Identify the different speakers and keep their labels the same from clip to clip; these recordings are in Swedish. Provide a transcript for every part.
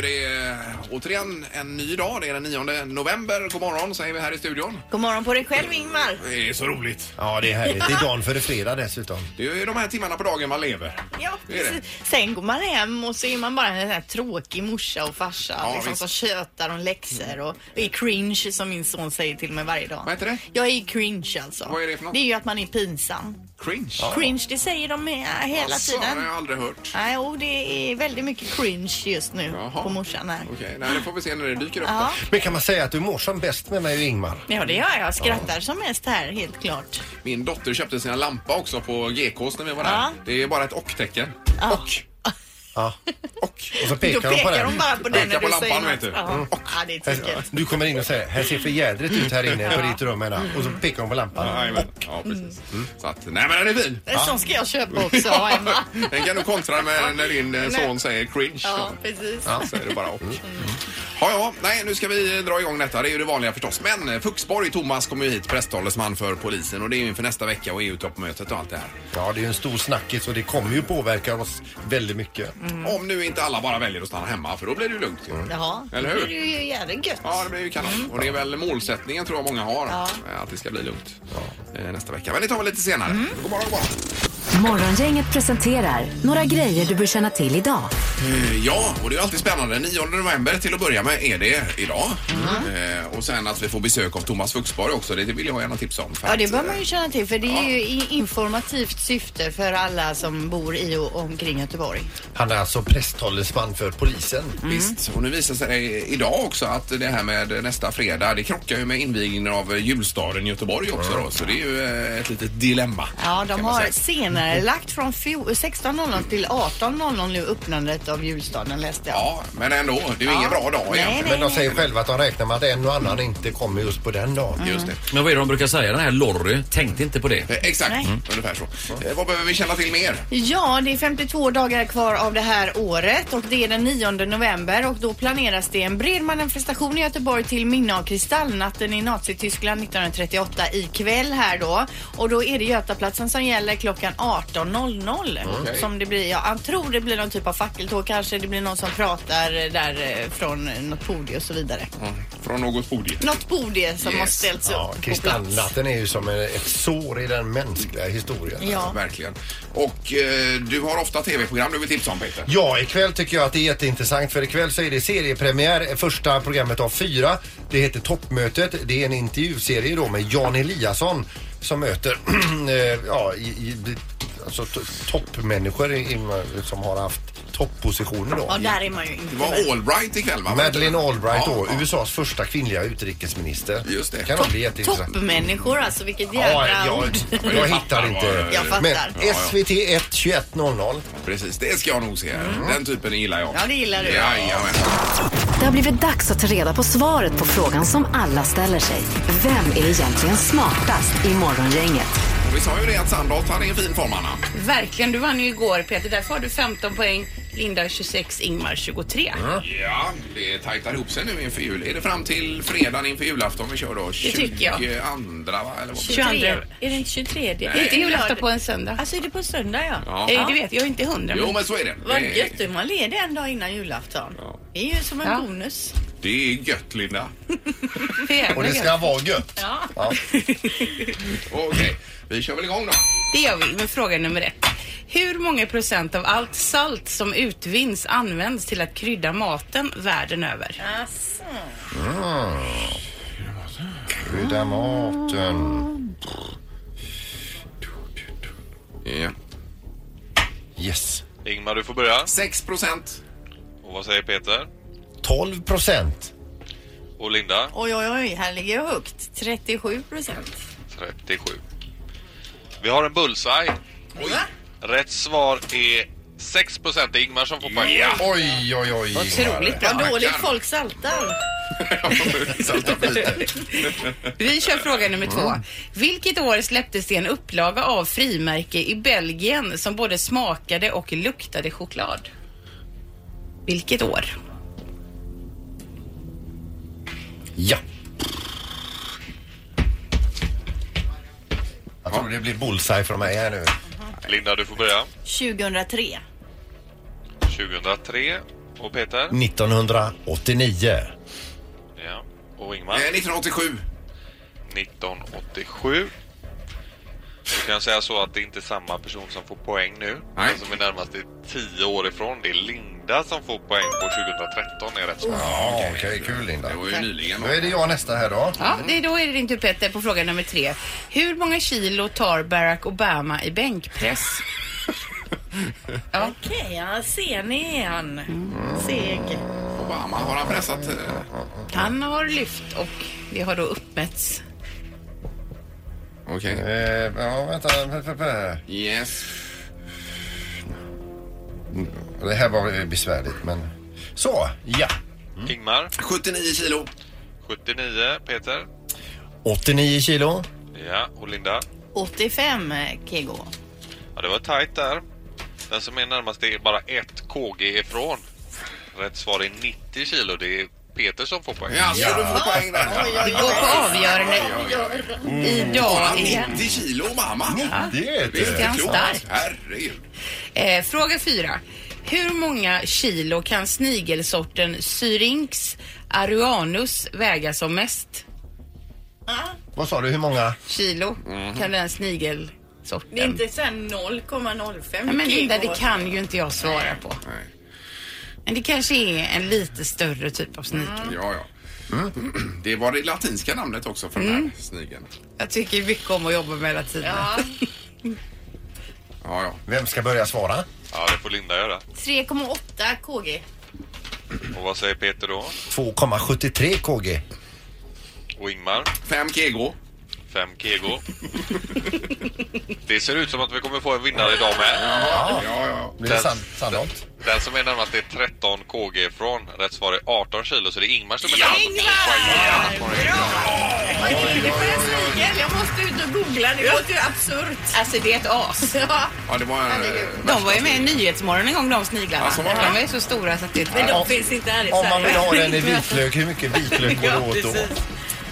Speaker 1: eh, återigen en ny dag. Det är den 9 november. God morgon säger vi här i studion.
Speaker 2: God morgon på dig själv Ingmar.
Speaker 1: Det är så roligt.
Speaker 3: Ja, det är härligt. Det är dagen före fredag dessutom.
Speaker 1: Det är ju de här timmarna på dagen man lever.
Speaker 2: Ja,
Speaker 1: Det är det.
Speaker 2: precis. Sen går man hem och så är man bara en sån här tråkig morsa och farsa
Speaker 1: Ja,
Speaker 2: liksom,
Speaker 1: visst.
Speaker 2: som tjötar om läxor och är cringe som min son säger till mig varje dag.
Speaker 1: Vad heter det?
Speaker 2: Jag är cringe alltså.
Speaker 1: Vad är det för något?
Speaker 2: Det är ju att man är pinsam.
Speaker 1: Cringe.
Speaker 2: Cringe, det säger de eh, hela
Speaker 1: Alltså, Det har
Speaker 2: tiden.
Speaker 1: jag aldrig hört.
Speaker 2: Nej, och det är väldigt mycket cringe just nu
Speaker 1: Jaha.
Speaker 2: på morsan här.
Speaker 1: Okej, nej, det får vi se när det dyker upp.
Speaker 2: Ja.
Speaker 3: Men kan man säga att du mår som bäst med mig och Ingmar?
Speaker 2: Ja, det gör jag. Jag skrattar som mest här, helt klart.
Speaker 1: Min dotter köpte sina lampa också på GKs när vi var där.
Speaker 2: Ja.
Speaker 1: Det är bara ett och-tecken.
Speaker 2: Ja.
Speaker 3: Ja.
Speaker 1: Och.
Speaker 3: Och så
Speaker 2: Då
Speaker 3: pekar, de på
Speaker 2: pekar
Speaker 3: den.
Speaker 2: de bara på den när
Speaker 1: Pekar på
Speaker 2: du säger
Speaker 1: lampan,
Speaker 2: något.
Speaker 1: vet du.
Speaker 2: Ja. ja, det är tokigt.
Speaker 3: Du kommer in och säger här ser för jädrigt ut här inne på ditt rum Edna." och så pekar de på lampan.
Speaker 1: Ja, ja, precis. Så att, nej men den är fin.
Speaker 2: En sån ska jag köpa också, ha hemma.
Speaker 1: Den kan du kontra med när din eh, son säger cringe.
Speaker 2: Ja, precis.
Speaker 1: Ja, så är det bara och. Ja, ja, nej, nu ska vi dra igång detta. Det är ju det vanliga förstås. Men eh, Fuxborg, Thomas, kommer ju hit, presstalesman för polisen. Och det är ju inför nästa vecka och EU-toppmötet och allt det här.
Speaker 3: Ja, det är ju en stor snackis och det kommer ju påverka oss väldigt mycket.
Speaker 2: Mm.
Speaker 1: Om nu inte alla bara väljer att stanna hemma, för då blir det ju lugnt. ju.
Speaker 2: Jaha,
Speaker 1: Eller hur?
Speaker 2: det är ju jävligt gött.
Speaker 1: Ja, det blir ju kanon. Och det är väl målsättningen tror jag många har,
Speaker 2: Mm. Ja.
Speaker 1: eh, att det ska bli lugnt eh, nästa vecka. Men det tar vi lite senare.
Speaker 2: Mm.
Speaker 1: God morgon, god morgon.
Speaker 4: Morgongänget presenterar några grejer du bör känna till idag.
Speaker 1: Eh, Ja, och det är alltid spännande. 9 november till att börja med är det idag.
Speaker 2: Mm.
Speaker 1: Eh, och sen att vi får besök av Thomas Fuxborg också, det vill jag gärna tipsa om. för
Speaker 2: Ja,
Speaker 1: att,
Speaker 2: det bör
Speaker 1: eh,
Speaker 2: man ju känna till för det är ju i informativt syfte för alla som bor i och omkring Göteborg.
Speaker 3: Han är alltså presstalesman för polisen.
Speaker 2: Mm.
Speaker 1: Visst, och nu visar sig idag också att det här med nästa fredag, det krockar ju med invigningen av eh, julstaden i Göteborg också då, så det är ju eh, ett litet dilemma.
Speaker 2: Ja,
Speaker 1: kan
Speaker 2: de
Speaker 1: man
Speaker 2: har
Speaker 1: säga.
Speaker 2: senare lagt från fjo- 16.00 till 18.00 nu öppnandet av julstaden läste jag.
Speaker 1: Ja, men ändå, det är ju ingen bra dag
Speaker 2: Nej,
Speaker 1: egentligen.
Speaker 3: Men de säger själva att de räknar med att en och annan inte kommer just på den dagen.
Speaker 1: Just det.
Speaker 2: Mm.
Speaker 5: Men vad är det de brukar säga? Den här Lorry, tänkte inte på det.
Speaker 1: Eh, Exakt,
Speaker 2: Nej.
Speaker 1: ungefär så. Eh, vad behöver vi känna till mer?
Speaker 2: Ja, det är 52 dagar kvar av det här året och det är den 9 november och då planeras det en bred manifestation i Göteborg till minne av kristallnatten i Nazityskland 1938 ikväll här då. Och då är det Götaplatsen som gäller klockan 18.00
Speaker 1: Okej.
Speaker 2: som det blir. Ja, jag tror det blir någon typ av fackeltåg kanske. Det blir någon som pratar eh, där eh, från eh, något podium och så vidare.
Speaker 1: Mm, Från något podium.
Speaker 2: Något podium som
Speaker 1: Yes.
Speaker 2: har ställts
Speaker 3: Ja,
Speaker 2: upp på plats.
Speaker 3: kristallnatten är ju som en- ett sår i den mänskliga historien.
Speaker 2: Ja.
Speaker 1: Verkligen. Och eh, du har ofta tv-program du vill tipsa om Peter.
Speaker 3: Ja, ikväll tycker jag att det är jätteintressant för ikväll så är det seriepremiär, eh, första programmet av fyra. Det heter Toppmötet. Det är en intervjuserie då med Jan Eliasson som möter eh, ja, i, i, alltså, to- toppmänniskor i, i, som har haft toppositioner då.
Speaker 2: Ja, där är man ju inte
Speaker 1: Det
Speaker 2: väl.
Speaker 1: var Allbright ikväll va?
Speaker 3: Madeleine Albright
Speaker 1: Ja,
Speaker 3: då,
Speaker 1: ja.
Speaker 3: USAs första kvinnliga utrikesminister.
Speaker 1: Just det.
Speaker 3: Kan hon bli jätteintressant.
Speaker 2: Toppmänniskor alltså, vilket
Speaker 3: Ja,
Speaker 2: jädra ord.
Speaker 3: jag, jag hittar inte.
Speaker 2: Jag fattar.
Speaker 3: Men
Speaker 2: Ja,
Speaker 1: ja.
Speaker 3: SVT 1 21.00.
Speaker 1: Precis, det ska jag nog se. Den typen gillar jag.
Speaker 2: Mm. Ja, det gillar du.
Speaker 1: Jajamän.
Speaker 4: Det har blivit dags att ta reda på svaret på frågan som alla ställer sig. Vem är egentligen smartast i Morgongänget?
Speaker 1: Och Vi sa ju det att Sandholt, han är i fin form Anna.
Speaker 6: Verkligen, du vann ju igår Peter. Därför har du 15 poäng. Linda 26, Ingmar 23.
Speaker 1: Ja, det tajtar ihop sig nu inför jul. Är det fram till fredagen inför julafton vi kör då?
Speaker 6: Det tycker jag.
Speaker 1: 22 va? Eller vad?
Speaker 6: 22.
Speaker 2: Är det inte 23? Det
Speaker 6: Inte julafton på en söndag.
Speaker 2: Alltså är det på söndag ja?
Speaker 1: Ja.
Speaker 6: Eh, Det vet jag, är inte hundra.
Speaker 1: Jo,
Speaker 6: Men...
Speaker 1: men så är det.
Speaker 2: Vad
Speaker 1: Det är-
Speaker 2: gött du, man leder en dag innan julafton.
Speaker 1: Ja.
Speaker 2: Det är ju som en
Speaker 6: Ja.
Speaker 2: bonus.
Speaker 1: Det är gött, Linda.
Speaker 6: för jävla
Speaker 3: Och det
Speaker 6: gött.
Speaker 3: ska vara gött. Ja.
Speaker 1: Okej, vi kör väl igång då.
Speaker 6: Det gör vi med fråga nummer ett. Hur många procent av allt salt som utvinns används till att krydda maten världen över?
Speaker 2: Alltså.
Speaker 3: Krydda maten.
Speaker 1: Ja.
Speaker 3: Yes.
Speaker 7: Ingmar, du får börja.
Speaker 1: 6 procent.
Speaker 7: Och vad säger Peter?
Speaker 3: 12 procent.
Speaker 7: Och Linda?
Speaker 2: Oj, oj, oj, här ligger jag högt. 37 procent.
Speaker 7: 37. Vi har en bullseye. Rätt svar är 6 procent. Det är Ingmar som får poäng.
Speaker 3: Oj, oj, oj.
Speaker 6: Otroligt bra.
Speaker 2: Vad dåligt
Speaker 1: tackar.
Speaker 2: folk saltar.
Speaker 1: Salta flyter.
Speaker 6: Vi kör fråga nummer två. Vilket år släpptes det en upplaga av frimärke i Belgien som både smakade och luktade choklad? Vilket år?
Speaker 3: Ja. Jag tror det blir bullseye från mig här nu.
Speaker 7: Linda, du får börja.
Speaker 2: 2003.
Speaker 7: 2003. Och Peter?
Speaker 3: 1989.
Speaker 7: Ja. Och
Speaker 1: Eh,
Speaker 7: Ingmar?
Speaker 1: 1987.
Speaker 7: 1987. Du kan säga så att det inte är samma person som får poäng nu.
Speaker 1: Nej.
Speaker 7: Den som är närmast är 10 år ifrån. Det är Linda som får poäng på 2013 är rätt svar.
Speaker 3: Ja, okej, kul Linda.
Speaker 1: Det var ju nyligen.
Speaker 3: Då är det jag nästa här då.
Speaker 6: Ja, det, då är det din tur Petter på fråga nummer tre. Hur många kilo tar Barack Obama i bänkpress?
Speaker 2: Okej, ja, ser ni är han.
Speaker 6: Mm.
Speaker 2: Seg.
Speaker 1: Obama har han pressat. eh,
Speaker 6: Han har lyft och det har då uppmätts.
Speaker 1: Okej.
Speaker 3: Eh, ja, vänta.
Speaker 1: Yes.
Speaker 3: Det här var besvärligt, men... Så, ja.
Speaker 7: Ingmar
Speaker 1: 79 kilo.
Speaker 7: 79, Peter
Speaker 3: 89 kilo.
Speaker 7: ja, och Linda.
Speaker 2: 85
Speaker 6: eh,
Speaker 2: kg.
Speaker 7: Ja, det var tajt där. Den som är närmast är bara 1 KG ifrån. Rätt svar är 90 kilo. Det är Peter som får poäng.
Speaker 1: Ja, så Alltså, du får poäng
Speaker 6: Det
Speaker 1: där.
Speaker 6: går på avgörande Mm. idag
Speaker 1: Bara
Speaker 6: igen.
Speaker 1: 90 kilo Obama.
Speaker 3: Det är
Speaker 1: Det är
Speaker 3: det.
Speaker 1: inte
Speaker 6: han
Speaker 1: klokt.
Speaker 6: stark?
Speaker 1: Herregud.
Speaker 6: Eh, fråga fyra. Hur många kilo kan snigelsorten Syrinx aruanus väga som mest?
Speaker 3: Vad sa du, hur många?
Speaker 6: Kilo kan den snigelsorten.
Speaker 2: Det är inte så här 0,05
Speaker 6: Nej, men Linda,
Speaker 2: kilo.
Speaker 6: det kan ju inte jag svara på. Men det kanske är en lite större typ av snigel.
Speaker 1: Ja, ja. Det var det latinska namnet också för den här snigeln.
Speaker 6: Jag tycker mycket om att jobba med latin.
Speaker 2: Mm. Ja,
Speaker 1: Ja, ja.
Speaker 3: Vem ska börja svara?
Speaker 7: Ja, det får Linda göra.
Speaker 2: 3,8 kg.
Speaker 7: Och vad säger Peter då?
Speaker 3: 2,73 kg.
Speaker 7: Och Ingmar?
Speaker 1: 5 kg.
Speaker 7: 5 kg. Det ser ut som att vi kommer få en vinnare idag med.
Speaker 1: Ja, ja.
Speaker 3: Blir det san- sannolikt?
Speaker 7: Den som är närmast är 13 kg ifrån. Rätt svar är 18 kilo, så det är Ingmar som är
Speaker 2: Ja,
Speaker 7: närmast.
Speaker 2: Ingmar! Vad är det för en snigel? Jag måste ut och googla. Det låter ju absurt.
Speaker 6: Alltså det är ett as.
Speaker 2: Ja.
Speaker 1: Ja, det var en... eh,
Speaker 6: De var ju med i Nyhetsmorgon en gång de sniglarna.
Speaker 1: Alltså, var det?
Speaker 6: de var ju så stora så att det
Speaker 2: Men
Speaker 3: Ja.
Speaker 2: de finns inte här i
Speaker 3: Om man vill
Speaker 2: Sverige.
Speaker 3: ha den i vitlök, hur mycket vitlök går det åt då?
Speaker 2: precis.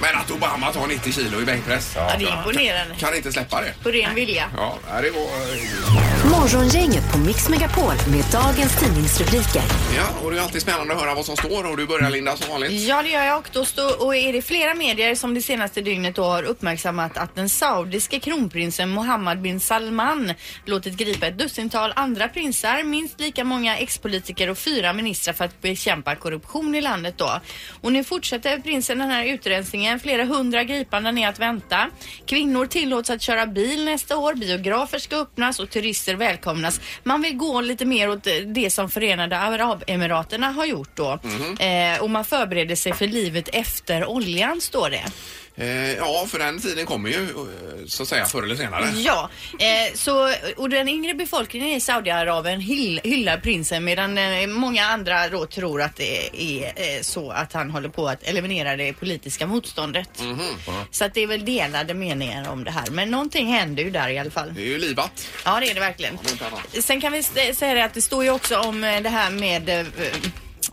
Speaker 1: Men att Obama tar 90 kilo i bänkpress.
Speaker 2: Ja, det är imponerande.
Speaker 1: Kan inte släppa det.
Speaker 2: På ren vilja.
Speaker 1: Ja, nej, det var...
Speaker 4: Morgongänget på Mix Megapol med dagens tidningsrubriker.
Speaker 1: Ja, och det är alltid spännande att höra vad som står och du börjar Linda som vanligt.
Speaker 2: Ja, det gör jag. Och då står, och är det flera medier som det senaste dygnet då har uppmärksammat att den saudiske kronprinsen Mohammed bin Salman låtit gripa ett dussintal andra prinsar, minst lika många ex-politiker och fyra ministrar för att bekämpa korruption i landet då. Och nu fortsätter prinsen den här utrensningen. Flera hundra gripanden är att vänta. Kvinnor tillåts att köra bil nästa år, biografer ska öppnas och turister välkomnas. Man vill gå lite mer åt det som Förenade Arabemiraterna har gjort då. Eh, och man förbereder sig för livet efter oljan, står det.
Speaker 1: Eh, ja, för den tiden kommer ju eh, så att säga förr eller senare.
Speaker 2: Ja, eh, så, och den yngre befolkningen i Saudiarabien hyll, hyllar prinsen medan eh, många andra då tror att det är eh, så att han håller på att eliminera det politiska motståndet. Så att det är väl delade meningar om det här. Men någonting händer ju där i alla fall.
Speaker 1: Det är ju livat.
Speaker 2: Ja, det är det verkligen.
Speaker 1: om inte annat.
Speaker 2: Sen kan vi st- säga det att det står ju också om eh, det här med eh,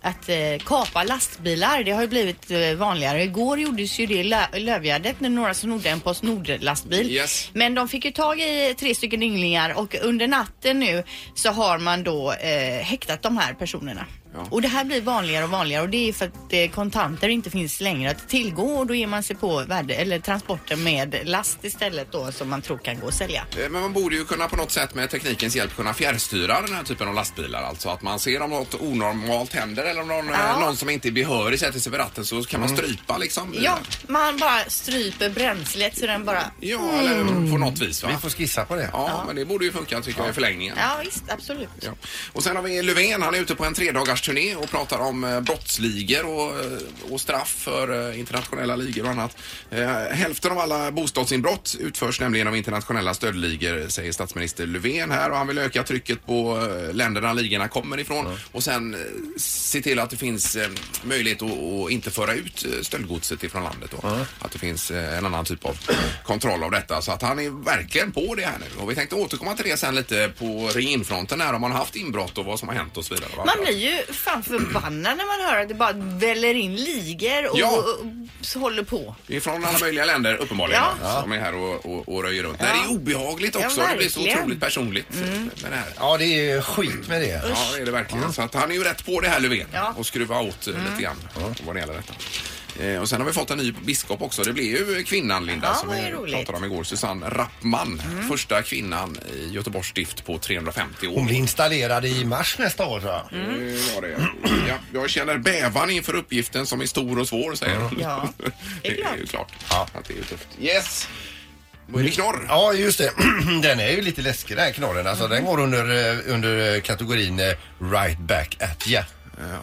Speaker 2: att eh, kapa lastbilar. Det har ju blivit eh, vanligare. Igår gjordes ju det i Lö- Lövgärdet när några snodde en Postnord-lastbil.
Speaker 1: Yes.
Speaker 2: Men de fick ju tag i tre stycken ynglingar och under natten nu så har man då eh, häktat de här personerna.
Speaker 1: Ja.
Speaker 2: Och det här blir vanligare och vanligare och det är för att eh, kontanter inte finns längre att tillgå och då ger man sig på värde, eller transporter med last istället då som man tror kan gå att sälja.
Speaker 1: Eh, Men man borde ju kunna på något sätt med teknikens hjälp kunna fjärrstyra den här typen av lastbilar. Alltså att man ser om något onormalt händer eller om någon, eh,
Speaker 2: Ja.
Speaker 1: någon som inte är behörig sätter sig vid ratten så kan man
Speaker 3: Mm.
Speaker 1: strypa liksom.
Speaker 2: Ja,
Speaker 1: bilen.
Speaker 2: man bara stryper bränslet så den bara...
Speaker 1: ja eller på något vis va?
Speaker 3: Vi får skissa på det.
Speaker 1: Ja, men det borde ju funka tycker jag i förlängningen.
Speaker 2: Ja, visst, absolut.
Speaker 1: Ja. Och sen har vi Löfven, han är ute på en tredagars turné och pratar om eh, brottsligor och, eh, och straff för eh, internationella ligor och annat. Eh, Hälften av alla bostadsinbrott utförs nämligen av internationella stöldligor säger statsminister Löfven här och han vill öka trycket på eh, länderna ligorna kommer ifrån och sen eh, se till att det finns eh, möjlighet att, att inte föra ut eh, stöldgodset ifrån landet då. Att det finns eh, en annan typ av kontroll av detta. Så att han är verkligen på det här nu. Och vi tänkte återkomma till det sen lite på reinfronten här om man har haft inbrott och vad som har hänt och så vidare. va?
Speaker 2: Man blir ju fan förbannad när man hör att det bara väller in ligor och,
Speaker 1: Ja.
Speaker 2: och, och, s- håller på.
Speaker 1: Det är från alla möjliga länder uppenbarligen
Speaker 2: Ja.
Speaker 1: som är här och, och, och röjer runt. Nej, det är obehagligt
Speaker 2: Ja,
Speaker 1: också. det blir så
Speaker 2: verkligen. Mm.
Speaker 1: otroligt personligt med det här.
Speaker 3: Ja, det är skit med det.
Speaker 1: Ja, det är det verkligen. Så att han är ju rätt på det här Löfven
Speaker 2: Ja.
Speaker 1: och skruva åt eh, lite grann vad det gäller detta. Eh, och sen har vi fått en ny biskop också. Det blev ju kvinnan Linda
Speaker 2: Ja,
Speaker 1: som
Speaker 2: vad
Speaker 1: vi
Speaker 2: roligt.
Speaker 1: pratade om igår. Susanne Rappman. Första kvinnan i Göteborgs stift på 350 år.
Speaker 3: Hon blir installerad i mars nästa år, tror jag.
Speaker 1: Eh, var det. Ja, jag känner bävan inför uppgiften som är stor och svår, säger hon.
Speaker 2: Ja,
Speaker 1: det är,
Speaker 2: klart.
Speaker 1: ju klart att det är ju tufft. Yes! Då är det knorr.
Speaker 3: Ja, just det. Den är ju lite läskig den här knorren. Alltså, den går under, eh, under eh, kategorin eh, right back at ya.
Speaker 1: Eh,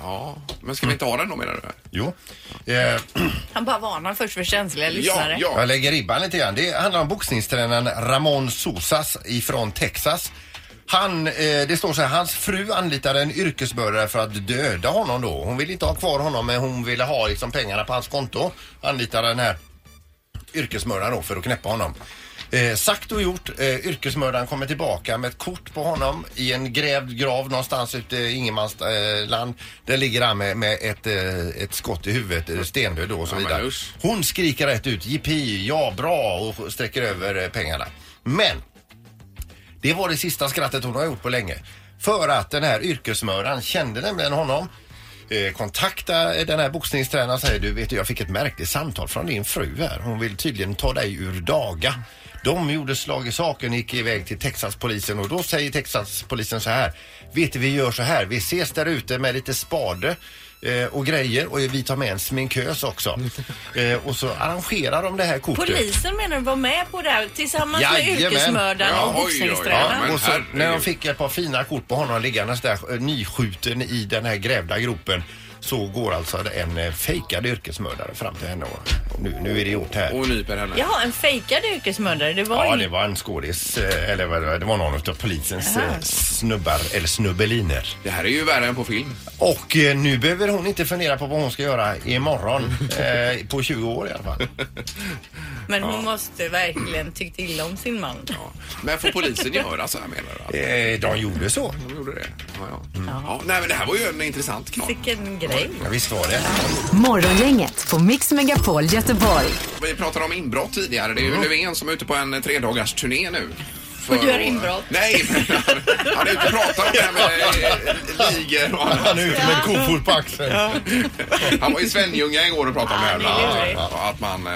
Speaker 1: Ja, men ska vi inte ha den då menar du?
Speaker 3: Jo. Eh,
Speaker 2: Han bara varnar först för känsliga lyssnare.
Speaker 1: ja.
Speaker 3: Jag lägger ribban lite grann. Det handlar om boxningstränaren Ramon Sosas ifrån Texas. Han, eh, det står så här, hans fru anlitade en yrkesmördare för att döda honom då. Hon ville inte ha kvar honom men hon ville ha liksom pengarna på hans konto. Anlitade den här yrkesmördaren då för att knäppa honom. Eh, sagt och gjort, eh, yrkesmördaren kommer tillbaka med ett kort på honom i en grävd grav någonstans ute i ingenmansland. Eh, land. Där ligger han med, med ett, eh, ett skott i huvudet, eh, stendöd då och så
Speaker 1: Ja, men
Speaker 3: vidare.
Speaker 1: usch.
Speaker 3: Hon skriker rätt ut jippi, ja bra och sträcker över eh, pengarna. Men det var det sista skrattet hon har gjort på länge. För att den här yrkesmördaren kände nämligen honom. Eh, kontakta eh, den här boxningstränaren och säger du vet du, jag fick ett märkligt samtal från din fru här. Hon vill tydligen ta dig ur daga. De gjorde slag i saken gick iväg till Texaspolisen och då säger Texaspolisen så här. Vet du vi gör så här. Vi ses där ute med lite spade eh, och grejer och vi tar med en sminkös också. Eh, och så arrangerar de det här kortet.
Speaker 2: Polisen menar du var med på det här tillsammans med
Speaker 3: Jajamän.
Speaker 2: yrkesmördaren
Speaker 1: Ja,
Speaker 2: och
Speaker 1: oj, oj, oj.
Speaker 2: boxningstränaren?
Speaker 1: Ja, men
Speaker 3: Ja, och så,
Speaker 1: herregud.
Speaker 3: när de fick ett par fina kort på honom liggandes där eh, nyskjuten i den här grävda gropen så går alltså en eh, fejkad yrkesmördare fram till henne och nu, nu är det gjort här.
Speaker 1: Och nyper henne.
Speaker 2: Jaha, en fejkad yrkesmördare. Det var
Speaker 3: Ja, det
Speaker 2: ingen-
Speaker 3: var en skådis, eh, eller vad det var, det var någon av polisens eh, snubbar eller snubbeliner.
Speaker 1: Det här är ju värre än på film.
Speaker 3: Och eh, nu behöver hon inte fundera på vad hon ska göra imorgon, eh, på 20 år i alla fall.
Speaker 2: Men hon måste verkligen tyckt illa om sin man.
Speaker 1: Ja. Men får polisen göra så här menar du? Att
Speaker 3: Eh, de gjorde så.
Speaker 1: de gjorde det? Ja, ja. Mm. ja. Nej, men det här var ju en intressant knorr.
Speaker 2: Vilken grej.
Speaker 3: Ja, visst var det.
Speaker 4: Morgongänget på Mix Megapol Göteborg.
Speaker 1: Vi pratade om inbrott tidigare. Det är ju Löfven som är ute på en tredagars turné nu. För
Speaker 2: Mm. Och gör
Speaker 1: att-
Speaker 2: inbrott.
Speaker 1: Nej, men han- han är ute och pratar om det här med eh, ligor och annat.
Speaker 3: Han är ute med en kofot på axeln.
Speaker 1: Han var i Svenljunga igår och pratade om det
Speaker 2: Ja,
Speaker 1: här.
Speaker 2: det är
Speaker 1: bland annat. Att man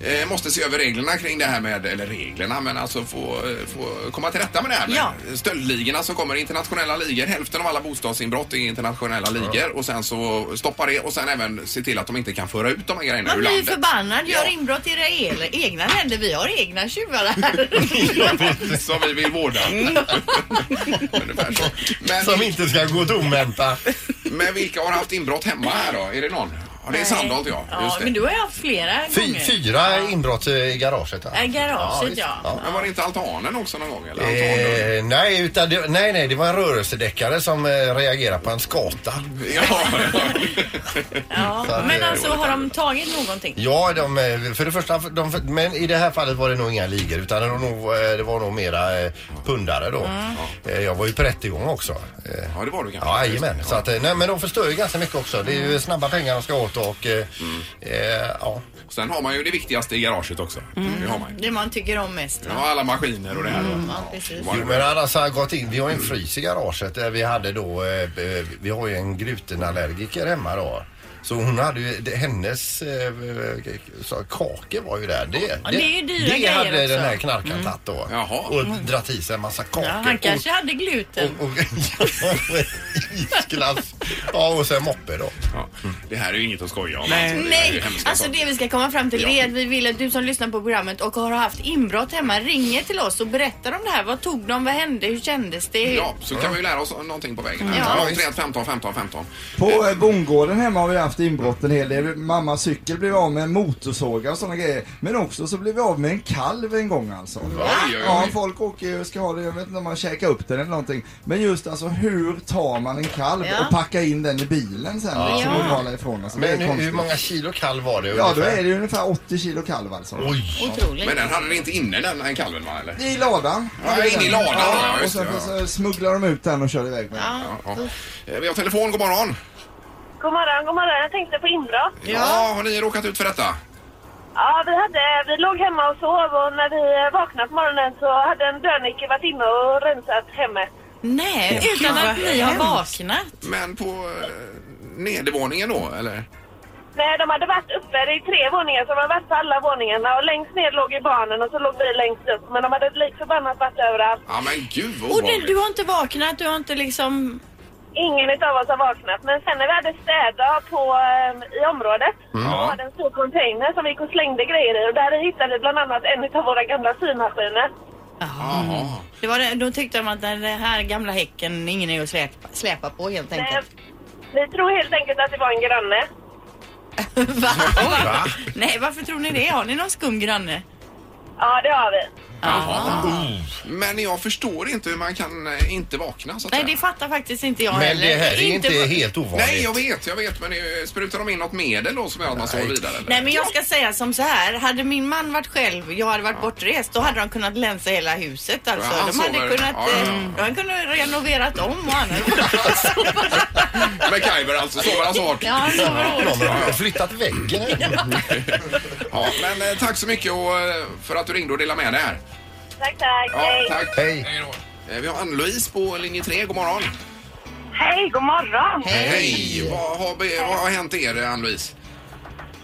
Speaker 1: eh, måste se över reglerna kring det här med, eller reglerna, men alltså få, eh, få komma till rätta med det här med
Speaker 2: Ja.
Speaker 1: stöldligorna som kommer, internationella ligor. Hälften av alla bostadsinbrott är internationella ligor och sen så stoppa det och sen även se till att de inte kan föra ut de här grejerna
Speaker 2: Man
Speaker 1: ur
Speaker 2: blir ju
Speaker 1: landet.
Speaker 2: förbannad. Gör
Speaker 1: Ja.
Speaker 2: inbrott i era el- egna länder. Vi har egna tjuvar här. Mm.
Speaker 1: som vi vill vårda. Ungefär så. Men,
Speaker 3: Som inte ska gå tomhänta.
Speaker 1: men vilka har haft inbrott hemma här då? Är det någon? Ja, det är Sandholt ja.
Speaker 2: ja
Speaker 1: Just det.
Speaker 2: men du har ju haft flera
Speaker 3: Fy,
Speaker 2: gånger.
Speaker 3: fyra inbrott eh, i garaget.
Speaker 2: Äh, garaget, ja.
Speaker 3: ja.
Speaker 1: Men var det inte altanen också någon gång? Eller? Altandörren?
Speaker 3: Eh, nej, utan det, nej, nej, det var en rörelsedäckare som eh, reagerade på en skata.
Speaker 1: Ja,
Speaker 2: Ja,
Speaker 3: Så att,
Speaker 2: men
Speaker 3: eh,
Speaker 2: alltså har de tagit någonting?
Speaker 3: Ja, de, eh, för det första, de, men i det här fallet var det nog inga ligor utan det var nog, eh, det var nog mera eh, pundare då. Eh, jag var ju på rättegång också. Eh,
Speaker 1: ja, det var du kanske.
Speaker 3: Ja, jajamän. Så att, eh, nej, men de förstör ju ganska mycket också. Det är ju snabba pengar de ska åt och eh, eh, ja.
Speaker 1: Sen har man ju det viktigaste i garaget också.
Speaker 2: Mm.
Speaker 1: Det har man ju.
Speaker 2: Det man tycker om mest.
Speaker 1: Ja, alla maskiner och det här.
Speaker 2: Mm, Ja, precis.
Speaker 1: Var-
Speaker 3: Jo men annars har jag gått in. Vi har ju en frys i garaget där vi hade då, eh, eh, vi har ju en glutenallergiker hemma då. Så hon hade ju, det- hennes eh, så- kakor var ju där. Det,
Speaker 2: Ja, det är ju dyra
Speaker 3: det
Speaker 2: grejer
Speaker 3: hade
Speaker 2: också. Mm.
Speaker 3: den här knarkaren tagit då.
Speaker 1: Jaha.
Speaker 3: Och dratt i sig en massa kakor.
Speaker 2: Ja, han kanske hade gluten.
Speaker 3: Och, och, och, isglass. Ja och sen moppe då.
Speaker 1: Ja. Det här är ju inget att skoja om.
Speaker 5: Nej.
Speaker 1: alltså. Det är ju
Speaker 2: Nej,
Speaker 1: hemska
Speaker 2: alltså
Speaker 1: saker.
Speaker 2: det vi ska komma fram till
Speaker 1: Ja.
Speaker 2: är att vi vill att du som lyssnar på programmet och har haft inbrott hemma ringer till oss och berättar om det här. Vad tog de? Vad hände? Hur kändes det?
Speaker 1: Ja, så kan vi ju lära oss någonting på vägen.
Speaker 2: Ja,
Speaker 1: här.
Speaker 3: visst.
Speaker 1: 031 15 15 15.
Speaker 8: På eh, bondgården hemma har vi ju haft inbrott en hel del. Mammas cykel blev av med en motorsåg och sådana grejer. Men också så blev vi av med en kalv en gång alltså.
Speaker 1: oj, oj.
Speaker 8: Ja, folk åker ju och ska ha det. Jag vet inte om man käkar upp den eller någonting. Men just alltså hur tar man en kalv
Speaker 2: Ja.
Speaker 8: och packar in den i bilen sen liksom och
Speaker 1: Mm.
Speaker 8: drar ifrån oss? Det är
Speaker 3: Men hur, hur
Speaker 8: konstigt.
Speaker 3: många kilo kall var det
Speaker 8: Ja, då
Speaker 3: ungefär?
Speaker 8: är det ju ungefär 80 kilo kalv alltså.
Speaker 3: Oj!
Speaker 2: Otroligt.
Speaker 1: Men den hade det inte inne den, den kalven va? Eller?
Speaker 8: I ladan.
Speaker 1: Ja, in i ladan, ja,
Speaker 8: och
Speaker 1: just
Speaker 8: sen
Speaker 1: det, ja.
Speaker 8: så smugglar de ut den och kör iväg med den.
Speaker 2: Ja.
Speaker 1: Ja. Eh, Vi har telefon, god morgon.
Speaker 9: God morgon, god morgon. Jag tänkte på inbrott.
Speaker 1: Ja. har ni råkat ut för detta?
Speaker 9: Ja, vi, hade, vi låg hemma och sov och när vi vaknade på morgonen så hade en dörrnyckel varit inne och rensat hemmet.
Speaker 2: Nej, utan att ni har vaknat.
Speaker 1: Men på eh, nedervåningen då, eller?
Speaker 9: Nej, de hade varit uppe i tre våningar, så de hade varit på alla våningarna och längst ner låg ju barnen och så låg vi längst upp. Men de hade lik förbannat varit överallt.
Speaker 1: Ja, men gud vad
Speaker 2: Och du,
Speaker 1: obehagligt.
Speaker 2: du har inte vaknat, du har inte liksom...
Speaker 9: Ingen av oss har vaknat. Men sen när vi hade städat på, eh, i området
Speaker 1: Mm.
Speaker 9: så var det en stor container som vi gick och slängde grejer i och där hittade vi bland annat en av våra gamla symaskiner.
Speaker 1: Jaha.
Speaker 2: Det var, det- då tyckte de att den här gamla häcken, ingen är att släpa, släpa på helt
Speaker 9: Nej,
Speaker 2: enkelt.
Speaker 9: vi Ehm, tror helt enkelt att det var en granne.
Speaker 2: Va? Nej, varför tror ni det? Har ni någon skum granne?
Speaker 9: Ja, det har vi.
Speaker 3: oh.
Speaker 1: Men jag förstår inte hur man kan eh, inte vakna så att
Speaker 2: Nej,
Speaker 1: säga.
Speaker 2: det fattar faktiskt inte jag
Speaker 3: Men
Speaker 2: heller.
Speaker 3: det här är inte
Speaker 2: på-
Speaker 3: helt ovanligt.
Speaker 1: Nej, jag vet, jag vet. Men eh, sprutar de in något medel då som gör att man sover vidare? Eller?
Speaker 2: Nej men jag ska säga som så här, hade min man varit själv, jag hade varit bortrest, då hade de kunnat länsa hela huset alltså.
Speaker 1: Ja, han
Speaker 2: de hade
Speaker 1: sover.
Speaker 2: kunnat,
Speaker 1: Ja, ja, ja.
Speaker 2: eh, de hade kunnat renoverat om och annat.
Speaker 1: MacGyver alltså, sover han så hårt?
Speaker 2: Ja, han sover hårt.
Speaker 3: Någon har flyttat väggen här.
Speaker 1: Ja, men eh, tack så mycket och, eh, för att du ringde och delade med dig här.
Speaker 9: Tack, tack.
Speaker 1: Ja,
Speaker 9: Hej.
Speaker 1: tack.
Speaker 3: Hej.
Speaker 1: då. Eh, Vi har Ann-Louise på linje 3, god morgon.
Speaker 9: Hej, god morgon.
Speaker 1: Hej! Vad har, be- vad har hänt er eh, Ann-Louise?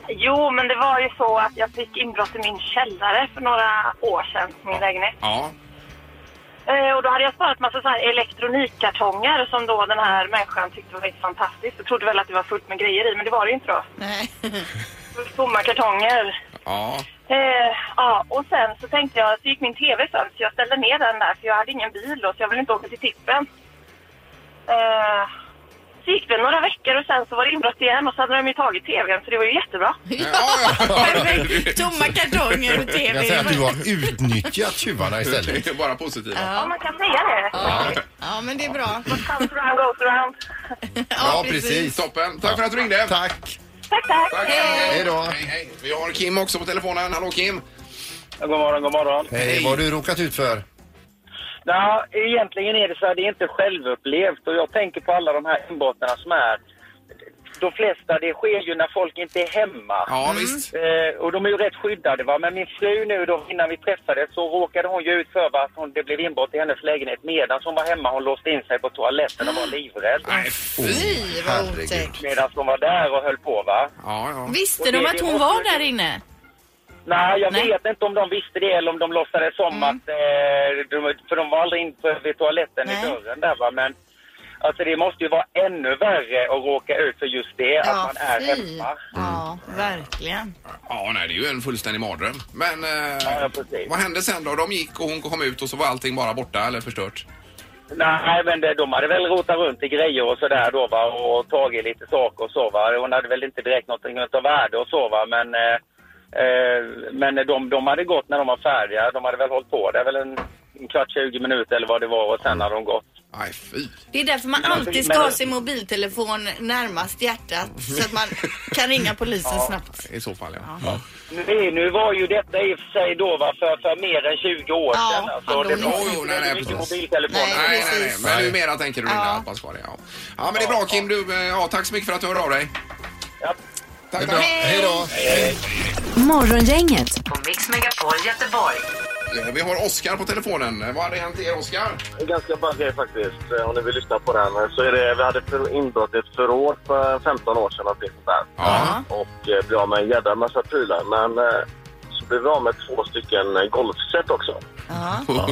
Speaker 9: Jo, men det var ju så att jag fick inbrott i min källare för några år sedan, min lägenhet.
Speaker 1: Ja.
Speaker 9: Eh, och då hade jag sparat massa så här elektronikkartonger som då den här människan tyckte var helt fantastiskt. Jag trodde väl att det var fullt med grejer i, men det var det ju inte då.
Speaker 2: Nej.
Speaker 9: Tomma kartonger.
Speaker 1: Ja.
Speaker 9: Eh, ja, och sen så tänkte jag, så gick min TV sönder så jag ställde ner den där för jag hade ingen bil då så jag ville inte åka till tippen. Eh, så gick det några veckor och sen så var det inbrott igen och så hade de ju tagit TVn så det var ju jättebra.
Speaker 1: Ja, ja,
Speaker 2: Perfekt. Tomma kartonger och
Speaker 3: Jag säger att
Speaker 2: TV.
Speaker 3: du har utnyttjat tjuvarna istället.
Speaker 1: Det är bara positiva.
Speaker 9: Ja, man kan säga det.
Speaker 2: Ja men det är bra.
Speaker 9: What comes around goes around.
Speaker 3: Ja, precis.
Speaker 1: Toppen. Tack för att du ringde.
Speaker 3: Tack.
Speaker 9: Tack, tack.
Speaker 1: Tack.
Speaker 3: Hej då.
Speaker 1: Hej, hej. Vi har Kim också på telefonen. Hallå Kim.
Speaker 10: God morgon, god morgon.
Speaker 3: Hej, vad har du råkat ut för?
Speaker 10: Ja, egentligen är det så här, det är inte självupplevt och jag tänker på alla de här inbrotten som är. De flesta, det sker ju när folk inte är hemma.
Speaker 1: Ja, visst.
Speaker 10: Eh, och de är ju rätt skyddade va. Men min fru nu då, innan vi träffades så råkade hon ju ut för va, att hon, det blev inbrott i hennes lägenhet medan hon var hemma. Hon låste in sig på toaletten och var livrädd.
Speaker 1: Nej, fy.
Speaker 2: Fy vad
Speaker 3: Oh,
Speaker 2: otäckt.
Speaker 10: Medan hon var där och höll på va.
Speaker 1: Ja, ja.
Speaker 2: Visste de att hon var där inne?
Speaker 10: Nej, jag
Speaker 2: Nej. Mm.
Speaker 10: vet inte om de visste det eller om de låtsades som att... Eh, de, för de var aldrig in på- vid toaletten
Speaker 2: Nej.
Speaker 10: i dörren där va, men... Alltså det måste ju vara ännu värre att råka ut för just det, att man är hemma.
Speaker 2: Ja, verkligen.
Speaker 1: Ja, nej, det är ju en fullständig mardröm. Men eh,
Speaker 10: ja, precis.
Speaker 1: vad hände sen då? De gick och hon kom ut och så var allting bara borta eller förstört.
Speaker 10: Nej, men det, de hade väl rotat runt i grejer och sådär då va, och tagit lite saker och så va. Hon hade väl inte direkt någonting av värde och så va, men... Eh, eh, men de, de hade gått när de var färdiga. De hade väl hållit på där väl en, en kvart, 20 minuter eller vad det var och sen hade de gått.
Speaker 1: Nej, fy.
Speaker 2: Det är därför man alltid ska ha sin mobiltelefon närmast hjärtat så att man kan ringa polisen snabbt.
Speaker 1: I så fall, ja.
Speaker 10: Nej, nu var ju detta i och för sig då va, för, för mer än 20 år
Speaker 2: Ja,
Speaker 10: sedan. Alltså,
Speaker 2: hallå.
Speaker 10: det var
Speaker 1: Jo, jo,
Speaker 10: inte
Speaker 1: nej, nej,
Speaker 10: mycket
Speaker 1: precis.
Speaker 10: mobiltelefoner.
Speaker 2: Nej,
Speaker 1: Nej, nej, nej.
Speaker 2: precis.
Speaker 1: Men numera tänker du
Speaker 2: Ja.
Speaker 1: ja. att man ska det. Ja. ja, men det är bra Kim. Du, eh, ja, tack så mycket för att du hörde av dig.
Speaker 10: Ja.
Speaker 1: Tack,
Speaker 3: Bra.
Speaker 1: tack.
Speaker 3: Hej då.
Speaker 4: Morgongänget
Speaker 11: På Mix Megapol Göteborg.
Speaker 1: Eh, Vi har Oskar på telefonen. Eh, Vad hade hänt er Oskar?
Speaker 10: Det är ganska bra grej faktiskt, eh, om ni vill lyssna på den. Så är det, vi hade för- inbrott i ett förråd för 15 år sedan och det sånt där.
Speaker 1: Ja.
Speaker 10: Och eh, blev av med en jädra massa prylar. Men eh, så blev vi av med två stycken eh, golfset också.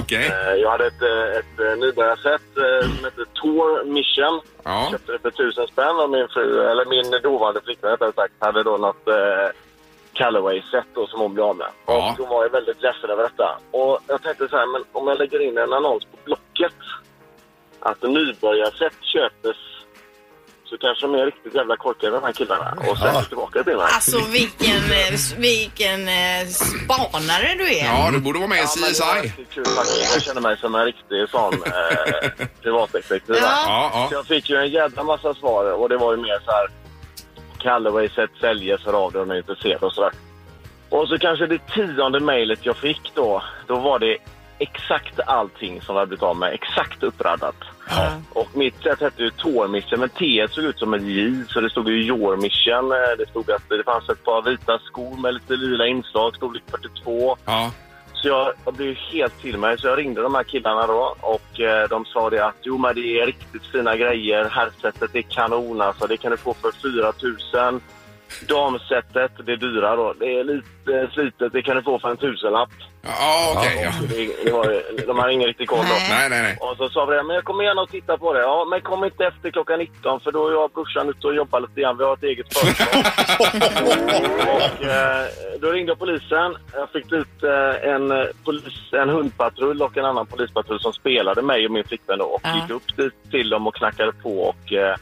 Speaker 1: Okej.
Speaker 10: Eh, Jag hade ett, eh, ett eh, nybörjarset eh, som hette Tour Mission.
Speaker 1: Ja.
Speaker 10: Köpte det för tusen spänn och min fru, eller min dåvarande flickvän rättare sagt, hade då något eh, Callaway-set då som hon blev av med.
Speaker 1: Ja.
Speaker 10: Och hon var ju väldigt ledsen över detta. Och jag tänkte så här, men om jag lägger in en annons på Blocket att nybörjarset köpes
Speaker 12: så kanske de är riktigt jävla korkade de här killarna och slänger tillbaka bilarna.
Speaker 2: Alltså vilken, eh, s- vilken eh, spanare du är.
Speaker 1: borde vara med
Speaker 12: i CSI. Ja, men det var riktigt kul faktiskt. Jag känner mig som en riktig sån eh, privatdetektiv. va?
Speaker 13: Ja, ja.
Speaker 12: Så jag fick ju en jävla massa svar och det var ju mer så här Calloway sätt säljer för av det om ni är intresserade och sådär. Och så kanske det tionde mejlet jag fick då, då var det exakt allting som jag blivit av med, exakt uppradat. Och mitt sätt hette ju Tor Mission, men T såg ut som ett J, så det stod ju Your Mission. Eh, Det stod att det fanns ett par vita skor med lite lila inslag, storlek 42. Så jag, jag blev helt till mig, så jag ringde de här killarna då och eh, de sa det att jo men det är riktigt fina grejer, herrsetet är kanon alltså, det kan du få för 4 000. Damsetet, det är dyra då, det är lite slitet, det kan du få för en tusenlapp.
Speaker 1: Ja, okej.
Speaker 12: ja. det, det var, ju- de hade ingen riktig koll då.
Speaker 1: Nej, nej, nej.
Speaker 12: Och så sa vi det, men jag kommer gärna och titta på det. Ja, men kom inte efter klockan 19 för då är jag och brorsan ute och jobbar lite grann. Vi har ett eget företag. och, eh, då ringde jag polisen. Jag fick ut eh, en, eh, polis, en hundpatrull och en annan polispatrull som spelade mig och min flickvän då, och
Speaker 13: Ja.
Speaker 12: gick upp dit till dem och knackade på och eh,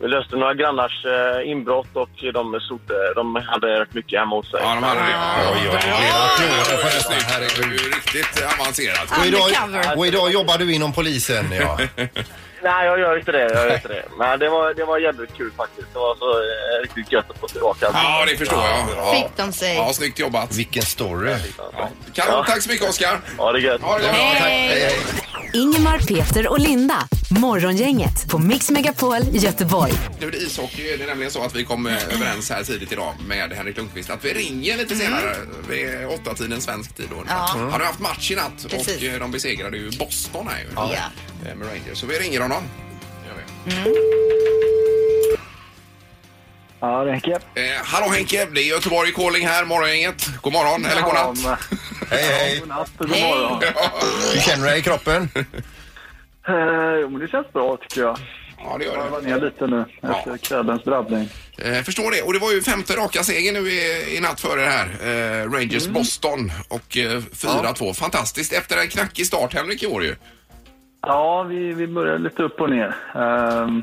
Speaker 12: vi löste några grannars eh, inbrott och de, stod, de hade rätt mycket hemma hos sig. Ja, de hade det.
Speaker 1: Oj, oj, oj. Herregud, riktigt avancerat.
Speaker 3: Och idag, och idag jobbar du inom polisen, ja.
Speaker 12: Nej, jag gör inte det. Jag gör inte det. Men det var, det var jävligt kul faktiskt. Det var så eh, riktigt gött att få tillbaka.
Speaker 1: Ja, det förstår jag. Ja.
Speaker 2: Fick de sig.
Speaker 1: Ja, snyggt jobbat.
Speaker 3: Vilken story.
Speaker 1: Kanon, tack så mycket Oskar.
Speaker 12: Ha det gött.
Speaker 1: Ha det gott.
Speaker 4: Hej. Ingemar, Peter och Linda. Morgongänget på Mix Megapol Göteborg.
Speaker 1: Nu är det ishockey. Det är nämligen så att vi kom eh, överens här tidigt idag med Henrik Lundqvist att vi ringer lite senare vid åtta tiden svensk tid. Då.
Speaker 13: Ja.
Speaker 1: ungefär. Har du haft match i natt och
Speaker 13: Precis.
Speaker 1: eh, de besegrade ju Boston här ju.
Speaker 13: Ja.
Speaker 1: Eh, Med Rangers. Så vi ringer honom.
Speaker 14: Ja, det är Henke.
Speaker 1: Eh, hallå Henke, det är Göteborg Calling här, morgongänget. God morgon, eller god
Speaker 14: Ja,
Speaker 1: natt.
Speaker 3: Hej, hej.
Speaker 14: God morgon.
Speaker 3: Hur känner du dig i kroppen?
Speaker 14: Eh, jo, men det känns bra tycker jag.
Speaker 1: Ja, det gör det.
Speaker 14: Jag var ner lite nu efter kvällens drabbning.
Speaker 1: Eh, förstår det. Och det var ju femte raka seger nu i, i natt för er här. Eh, Rangers Boston och eh, 4-2. Fantastiskt. Efter en knackig start, Henrik, i år ju.
Speaker 14: Ja, vi, vi började lite upp och ner. Ehm,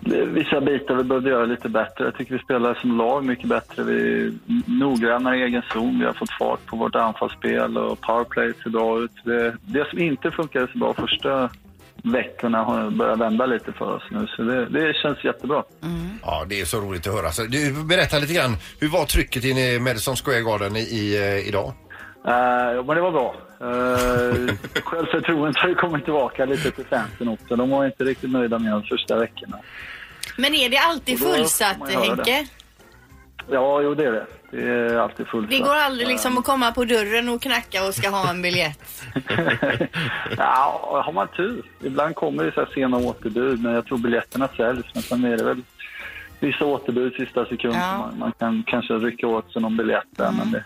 Speaker 14: det- vissa bitar vi behövde göra lite bättre. Jag tycker vi spelar som lag mycket bättre. Vi är noggrannare i egen zon. Vi har fått fart på vårt anfallsspel och powerplay ser bra ut. Det, det som inte funkade så bra första veckorna har börjat vända lite för oss nu, så det, det känns jättebra.
Speaker 3: Ja, det är så roligt att höra. Så du, berätta lite grann, hur var trycket inne i eh, Madison Square Garden i, i, eh, idag?
Speaker 14: Eh, jo, men det var bra. Uh, självförtroendet har ju kommit tillbaka lite till fansen också. De var inte riktigt nöjda med de första veckorna.
Speaker 2: Men är det alltid
Speaker 14: Och då får
Speaker 2: fullsatt,
Speaker 14: man göra det.
Speaker 2: Henke?
Speaker 14: Ja, jo, det är det. Det är alltid fullt.
Speaker 2: Det går aldrig liksom att komma på dörren och knacka och ska ha en biljett.
Speaker 14: ja, har man tur. Ibland kommer det så här sena återbud, men jag tror biljetterna säljs. Men sen är det väl vissa återbud i sista sekund.
Speaker 2: Ja.
Speaker 14: Man, man kan kanske rycka åt sig någon biljett där, men det,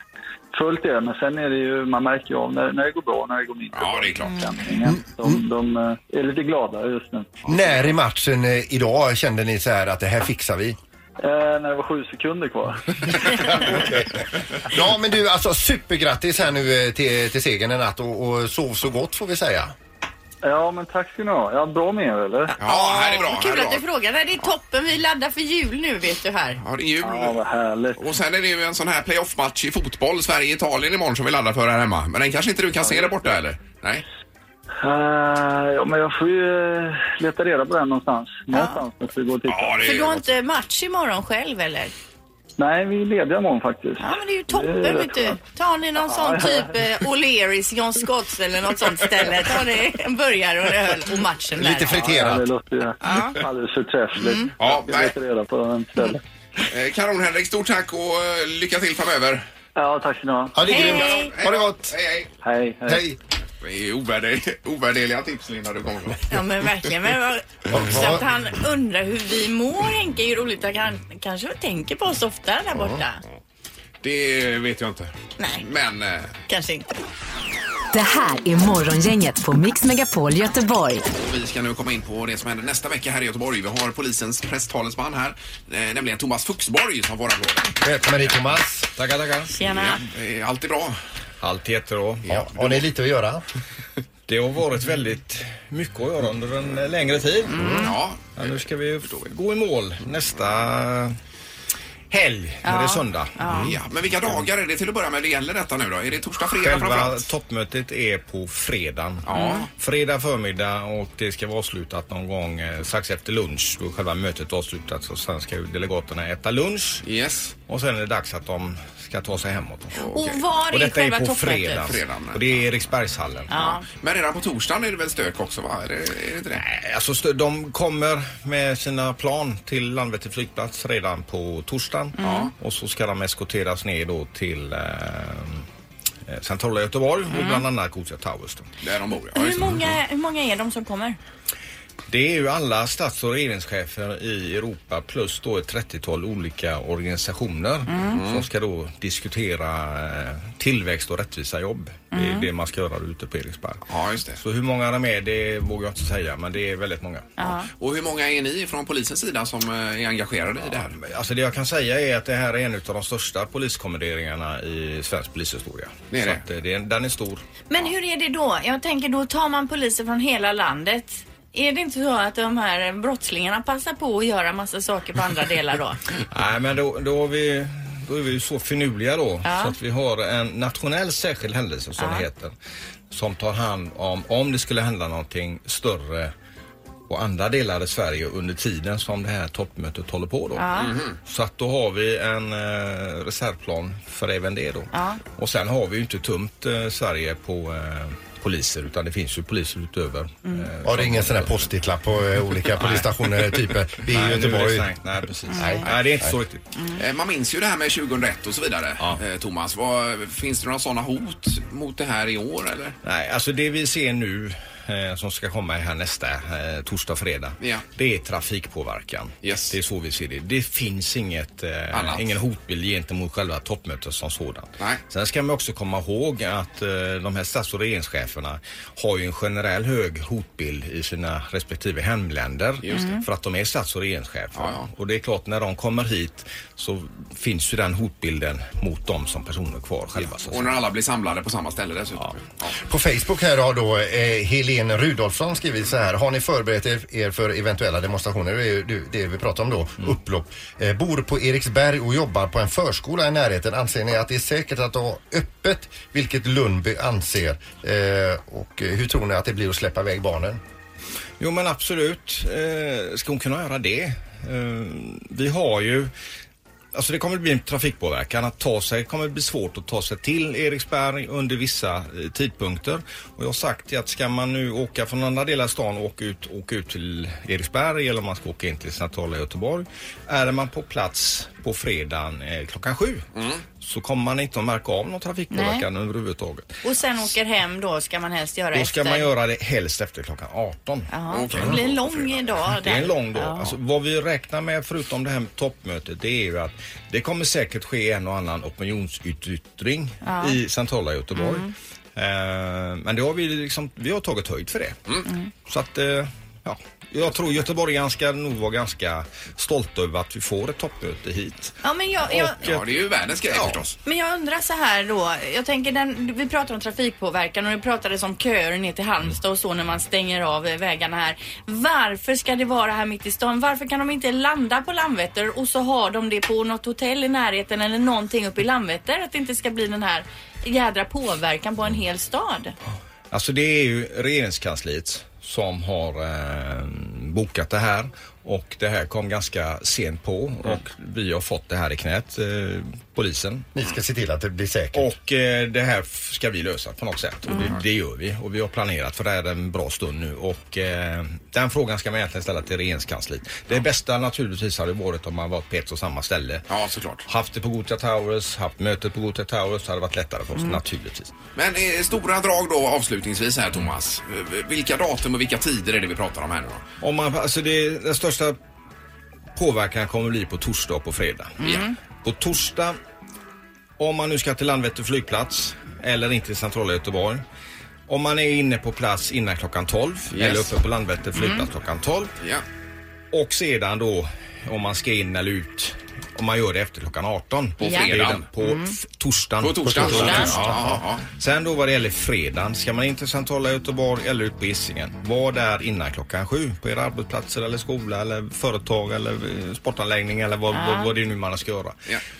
Speaker 14: fullt är det. Men sen är det ju, man märker ju av när, när det går bra och när det går mindre Ja,
Speaker 1: det är klart.
Speaker 14: De, de eh, är lite glada just nu.
Speaker 3: När i matchen eh, idag kände ni så här att det här fixar vi?
Speaker 14: Eh, när det var sju sekunder kvar.
Speaker 3: Ja, men du alltså supergrattis här nu eh, till, till segern i natt och, och sov så gott får vi säga.
Speaker 14: Ja, men tack ska ni ha. Ja, bra med er, eller?
Speaker 1: Ja, här är bra.
Speaker 2: Kul att du frågar. Nej, Det är toppen. Vi laddar för jul nu, vet du här.
Speaker 1: Ja, det är jul.
Speaker 14: Ja, vad härligt.
Speaker 1: Och sen är det ju en sån här playoff-match i fotboll, Sverige-Italien imorgon som vi laddar för här hemma. Men den kanske inte du kan se där borta eller? Nej?
Speaker 14: Eh, ja, men jag får ju eh, leta reda på den någonstans. Någonstans måste vi gå och titta.
Speaker 2: För du har inte match imorgon själv, eller?
Speaker 14: Nej, vi är lediga imorgon faktiskt.
Speaker 2: Ja, men det är ju toppen,
Speaker 14: Det är
Speaker 2: vet du. Tar ni någon sån typ eh, O'Learys, John Scotts eller något sånt ställe. Tar ni en burgare och en öl och matchen där.
Speaker 14: Ja, det låter ju alldeles förträffligt.
Speaker 13: Mm.
Speaker 1: Ja,
Speaker 14: jag ska leta reda på den stället.
Speaker 1: Eh, kanon Henrik, stort tack och eh, lycka till framöver.
Speaker 14: Ja, tack ska ni ha.
Speaker 1: Ja, det är Hej, grymt. hej. Ha det
Speaker 3: gott.
Speaker 1: Hej, hej.
Speaker 14: Hej, hej.
Speaker 1: Det är ovärderliga, ovärderliga tips Linda du kommer med.
Speaker 2: Ja, men verkligen. Men vad- också att han undrar hur vi mår, Henke. är ju roligt att han kanske tänker på oss ofta där borta.
Speaker 1: Det vet jag inte. Nej. Men... Eh,
Speaker 2: Kanske inte.
Speaker 4: Det här är Morgongänget på Mix Megapol Göteborg.
Speaker 1: Och vi ska nu komma in på det som händer nästa vecka här i Göteborg. Vi har polisens presstalesman här, eh, nämligen Thomas Fuxborg som får applåder.
Speaker 3: Välkommen hit Thomas.
Speaker 15: Tackar, tackar.
Speaker 2: Tjena.
Speaker 1: Eh, Allt är bra?
Speaker 15: Allt är jättebra.
Speaker 3: Ja, har ni lite att göra?
Speaker 13: Det har varit väldigt mycket att göra under en längre tid.
Speaker 1: Ja.
Speaker 13: nu ska vi f- gå i mål nästa helg, när det är söndag.
Speaker 1: Ja, men vilka dagar är det till att börja med det gäller detta nu då? Är det torsdag, fredag
Speaker 13: Mm. Själva Mm.
Speaker 1: framförallt?
Speaker 13: toppmötet är på fredagen.
Speaker 1: Ja.
Speaker 13: Fredag förmiddag och det ska vara avslutat någon gång eh, strax efter lunch. Då är själva mötet avslutat och sen ska ju delegaterna äta lunch.
Speaker 1: Yes.
Speaker 13: Och sen är det dags att de ska ta sig hemåt.
Speaker 2: Och var
Speaker 13: och
Speaker 2: är
Speaker 13: detta är
Speaker 2: själva
Speaker 13: på
Speaker 2: toppmötet?
Speaker 13: fredag. Alltså, Och det är Eriksbergshallen.
Speaker 2: Ja.
Speaker 1: Men redan på torsdagen är det väl stök också va? Är det, är det inte det?
Speaker 13: Nej, Alltså, stö- de kommer med sina plan till Landvetter flygplats redan på torsdagen.
Speaker 2: Mm.
Speaker 1: Ja.
Speaker 13: Och så ska de eskorteras ner då till eh, eh, centrala Göteborg och
Speaker 2: Mm.
Speaker 13: bland annat Gothia Towers. Då.
Speaker 1: Där de bor,
Speaker 2: Hur många, hur många är de som kommer?
Speaker 13: Det är ju alla stats och regeringschefer i Europa plus då ett 30-tal olika organisationer
Speaker 2: Mm.
Speaker 13: som ska då diskutera eh, tillväxt och rättvisa jobb. Det är
Speaker 2: Mm.
Speaker 13: det man ska göra ute på Eriksberg.
Speaker 1: Ja, just det.
Speaker 13: Så hur många de är det vågar jag inte säga men det är väldigt många.
Speaker 2: Ja.
Speaker 1: Och hur många är ni från polisens sida som eh, är engagerade i det här?
Speaker 13: Alltså det jag kan säga är att det här är en av de största poliskommenderingarna i svensk polishistoria.
Speaker 1: Det är
Speaker 13: Så att, eh, det är, den är stor.
Speaker 2: Men hur är det då? Jag tänker då tar man poliser från hela landet. Är det inte så att de här brottslingarna passar på att göra massa saker på andra delar då?
Speaker 13: Nej men då, då, har vi, då är vi ju så finurliga då
Speaker 2: Ja.
Speaker 13: så att vi har en nationell särskild händelse som
Speaker 2: Ja.
Speaker 13: det heter. Som tar hand om, om det skulle hända någonting större och andra delar i Sverige under tiden som det här toppmötet håller på då.
Speaker 2: Ja. Mhm.
Speaker 13: Så att då har vi en eh, reservplan för även det då.
Speaker 2: Ja.
Speaker 13: Och sen har vi ju inte tömt eh, Sverige på eh, poliser utan det finns ju poliser utöver. Mm.
Speaker 3: Har det ingen sån här post-it-lapp på eh, olika polisstationer? Typ, eh, vi är i
Speaker 13: Nej, nu är det
Speaker 3: Göteborg.
Speaker 13: stängt. Nej, precis. Nej. Nej, det är inte så riktigt.
Speaker 1: Eh, Man minns ju det här med 2001 och så vidare, eh, Thomas. Vad, finns det några sådana hot mot det här i år eller?
Speaker 13: Nej, alltså det vi ser nu eh, som ska komma här nästa eh, torsdag, fredag.
Speaker 1: Ja.
Speaker 13: Det är trafikpåverkan. Det är så vi ser det. Det finns inget, eh,
Speaker 1: Annat.
Speaker 13: ingen hotbild gentemot själva toppmötet som sådant.
Speaker 1: Nej.
Speaker 13: Sen ska man också komma ihåg att eh, de här stats och regeringscheferna har ju en generell hög hotbild i sina respektive hemländer
Speaker 1: Just det.
Speaker 13: för att de är stats och regeringschefer. Och det är klart när de kommer hit så finns ju den hotbilden mot dem som personer kvar själva. så att
Speaker 1: Och när alla blir samlade på samma ställe dessutom. alltså. Ja.
Speaker 3: På Facebook här har då eh, Helene Rudolfsson skrivit så här. Har ni förberett er- er för eventuella demonstrationer? Det är ju det- det vi pratar om då. Upplopp. Eh, bor på Eriksberg och jobbar på en förskola i närheten. Anser ni att det är säkert att ha öppet? Vilket Lundby anser. Eh, och eh, hur tror ni att det blir att släppa iväg barnen?
Speaker 13: Jo men absolut eh, ska hon kunna göra det. Eh, vi har ju Alltså det kommer att bli en trafikpåverkan. Att ta sig kommer att bli svårt att ta sig till Eriksberg under vissa eh, tidpunkter. Och jag har sagt att ska man nu åka från andra delar av stan och åka ut, åka ut till Eriksberg eller om man ska åka in till centrala Göteborg. Är man på plats på fredagen eh, klockan sju så kommer man inte att märka av någon trafikpåverkan överhuvudtaget.
Speaker 2: Och sen åker hem då ska man helst göra
Speaker 13: Då ska
Speaker 2: efter.
Speaker 13: man göra det helst efter klockan 18.
Speaker 2: Ja, Det blir en lång dag.
Speaker 13: Det är en lång dag.
Speaker 2: Ja.
Speaker 13: Alltså, vad vi räknar med förutom det här med toppmötet det är ju att det kommer säkert ske en och annan opinionsyttring
Speaker 2: Ja. Mm.
Speaker 13: i centrala Göteborg. Eh, men det har vi, liksom, vi har tagit höjd för det.
Speaker 1: Mm.
Speaker 2: Mm.
Speaker 13: Så att, eh, ja. Jag tror göteborgaren ska nog vara ganska stolt över att vi får ett toppmöte hit. eh,
Speaker 2: Ja, men jag, jag,
Speaker 1: Ja, det är ju världens grej förstås.
Speaker 2: Men jag undrar så här då. Jag tänker den, vi pratar om trafikpåverkan och det pratades om köer ner till Halmstad och så när man stänger av eh, vägarna här. Varför ska det vara här mitt i stan? Varför kan de inte landa på Landvetter och så har de det på något hotell i närheten eller någonting uppe i Landvetter? Att det inte ska bli den här jädra påverkan på en hel stad.
Speaker 13: Alltså det är ju regeringskansliet som har eh, bokat det här och det här kom ganska sent på
Speaker 1: Mm.
Speaker 13: och vi har fått det här i knät, eh, polisen.
Speaker 3: Ni ska se till att det blir säkert.
Speaker 13: Och eh, det här f- ska vi lösa på något sätt och
Speaker 1: Mm.
Speaker 13: det, det gör vi och vi har planerat för det här en bra stund nu och eh, den frågan ska man egentligen ställa till regeringskansliet. Det bästa naturligtvis hade varit om man varit på ett och samma ställe.
Speaker 1: Ja, såklart.
Speaker 13: Haft det på Gothia Towers, haft mötet på Gothia Towers, det hade varit lättare för oss
Speaker 1: Mm.
Speaker 13: naturligtvis.
Speaker 1: Men eh, stora drag då avslutningsvis här Thomas. Eh, Vilka datum och vilka tider är det vi pratar om här nu då?
Speaker 13: Om man, alltså det, den största påverkan kommer bli på torsdag och på fredag.
Speaker 1: Ja.
Speaker 13: På torsdag, om man nu ska till Landvetter flygplats eller inte till centrala Göteborg. Om man är inne på plats innan klockan 12
Speaker 1: Yes.
Speaker 13: eller uppe på Landvetter flygplats
Speaker 1: Mm.
Speaker 13: klockan 12.
Speaker 1: Ja.
Speaker 13: Och sedan då om man ska in eller ut om man gör det efter klockan 18.
Speaker 1: På
Speaker 13: Det
Speaker 1: fredagen.
Speaker 13: är den- På
Speaker 1: Mm.
Speaker 13: f- torsdagen.
Speaker 1: På torsdagen. Torsdagen. Ja, ja.
Speaker 13: Sen då vad det gäller fredagen. Ska man in till Santola i Göteborg eller ut på Hisingen. Var där innan klockan sju. På era arbetsplatser eller skola eller företag eller eh, sportanläggning eller vad,
Speaker 15: Ja.
Speaker 13: vad, vad det är nu man ska göra.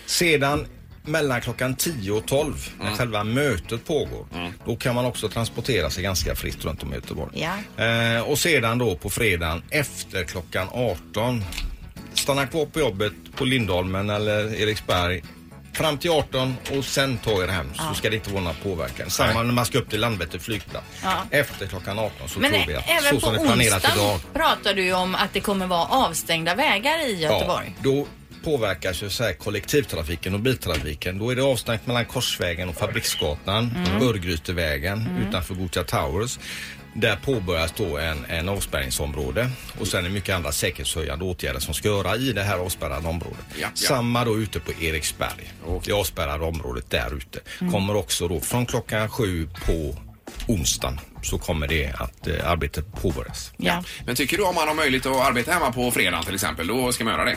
Speaker 13: Sedan mellan klockan 10 och 12 när
Speaker 15: Mm.
Speaker 13: själva mötet pågår. Då kan man också transportera sig ganska fritt runt om i Göteborg.
Speaker 15: Ja.
Speaker 13: Eh, och sedan då på fredagen efter klockan 18. Stanna kvar på jobbet på Lindholmen eller Eriksberg fram till 18 och sen ta er hem
Speaker 2: Ja.
Speaker 13: så ska det inte vara någon påverkan. Samma när man ska upp till Landvetter flygplats.
Speaker 2: Ja.
Speaker 13: Efter klockan 18 så
Speaker 2: Men
Speaker 13: tror vi
Speaker 2: ä-
Speaker 13: att
Speaker 2: även
Speaker 13: så
Speaker 2: på
Speaker 13: som det är planerat idag.
Speaker 2: onsdagen pratar du ju om att det kommer vara avstängda vägar i Göteborg.
Speaker 13: Ja, då påverkas ju så här kollektivtrafiken och biltrafiken. Då är det avstängt mellan Korsvägen och Fabriksgatan,
Speaker 15: Mm.
Speaker 13: Örgrytevägen
Speaker 15: Mm.
Speaker 13: utanför Gothia Towers. Där påbörjas då en, en avspärrningsområde och sen är det mycket andra säkerhetshöjande åtgärder som ska göra i det här avspärrade området. Samma då ute på Eriksberg, det avspärrade området där ute.
Speaker 15: Mm.
Speaker 13: Kommer också då från klockan sju på onsdagen så kommer det att eh, arbetet påbörjas.
Speaker 2: Ja.
Speaker 1: Men tycker du om man har möjlighet att arbeta hemma på fredagen till exempel, då ska man göra det?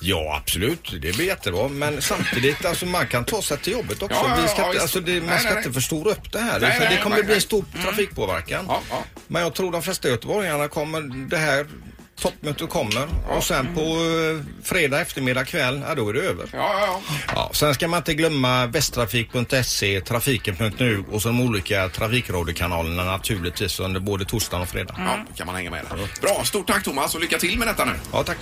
Speaker 13: Ja, absolut. Det blir jättebra. Men samtidigt, alltså, man kan ta sig till jobbet också.
Speaker 15: Ja, ja,
Speaker 13: Vi ska,
Speaker 15: ja,
Speaker 13: inte-
Speaker 15: visst.
Speaker 13: alltså, det, man
Speaker 15: Nej,
Speaker 13: ska
Speaker 15: nej,
Speaker 13: inte
Speaker 15: nej.
Speaker 13: förstora upp det här.
Speaker 15: Nej,
Speaker 13: utan
Speaker 15: nej,
Speaker 13: det kommer
Speaker 15: nej,
Speaker 13: bli
Speaker 15: nej. Mm.
Speaker 13: en stor trafikpåverkan. Men jag tror de flesta göteborgarna kommer, det här toppmötet kommer och sen på
Speaker 15: Mm.
Speaker 13: eh, fredag eftermiddag kväll, ja då är det över.
Speaker 1: ja,
Speaker 13: Ja, sen ska man inte glömma västtrafik.se, trafiken.nu och så de olika trafikradiokanalerna naturligtvis under både torsdagen och fredag.
Speaker 15: Mm.
Speaker 1: Ja, kan man hänga med där. Bra, stort tack Thomas och lycka till med detta nu.
Speaker 13: Ja, tack.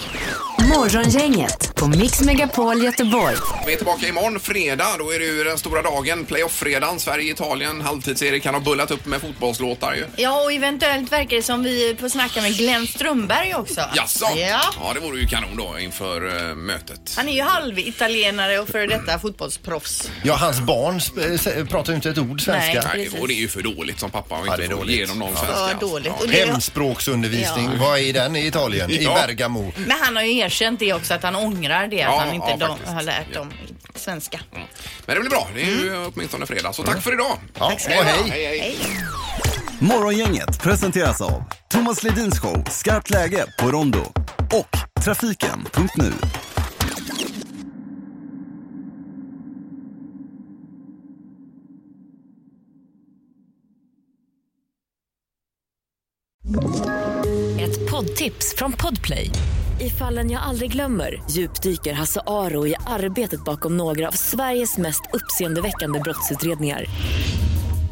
Speaker 4: Morgongänget på Mix Megapol Göteborg.
Speaker 1: Vi är tillbaka imorgon fredag. Då är det ju den stora dagen, playoff-fredagen. Sverige-Italien. Halvtids-Erik kan ha bullat upp med fotbollslåtar ju.
Speaker 2: Ja, och eventuellt verkar det som vi får snacka med Glenn Strömberg också.
Speaker 1: Jaså?
Speaker 2: Ja.
Speaker 1: ja, det vore ju kanon då inför eh, mötet.
Speaker 2: Han är ju halvitalienare och före detta fotbollsproffs.
Speaker 3: Ja, hans barn sp- eh, s- pratar ju inte ett ord svenska.
Speaker 2: Nej, precis.
Speaker 1: Och det är ju för dåligt som pappa och
Speaker 3: Ja,
Speaker 1: inte
Speaker 3: det är
Speaker 1: får
Speaker 3: dåligt.
Speaker 1: ge dem någon
Speaker 3: Ja.
Speaker 1: svenska.
Speaker 2: För
Speaker 1: alltså.
Speaker 2: dåligt.
Speaker 1: Ja.
Speaker 2: Och det är-
Speaker 3: Hemspråksundervisning,
Speaker 2: Ja.
Speaker 3: vad är den i Italien? I
Speaker 1: Ja.
Speaker 3: Bergamo.
Speaker 2: Men han har ju erkänt det också, att han ångrar det,
Speaker 1: Ja,
Speaker 2: att han inte
Speaker 1: ja,
Speaker 2: de,
Speaker 1: faktiskt.
Speaker 2: har lärt dem svenska.
Speaker 1: Men det blir bra. Det är ju åtminstone fredag. Så
Speaker 3: Mm.
Speaker 1: tack för idag.
Speaker 2: Ja, Mm. Tack ska du ha.
Speaker 1: Hej,
Speaker 2: hej.
Speaker 1: hej.
Speaker 16: Morgongänget presenteras av Thomas Ledins show Skarpt läge på Rondo och Trafiken.nu.
Speaker 17: Ett poddtips från Podplay. I fallen jag aldrig glömmer djupdyker Hasse Aro i arbetet bakom några av Sveriges mest uppseendeväckande brottsutredningar.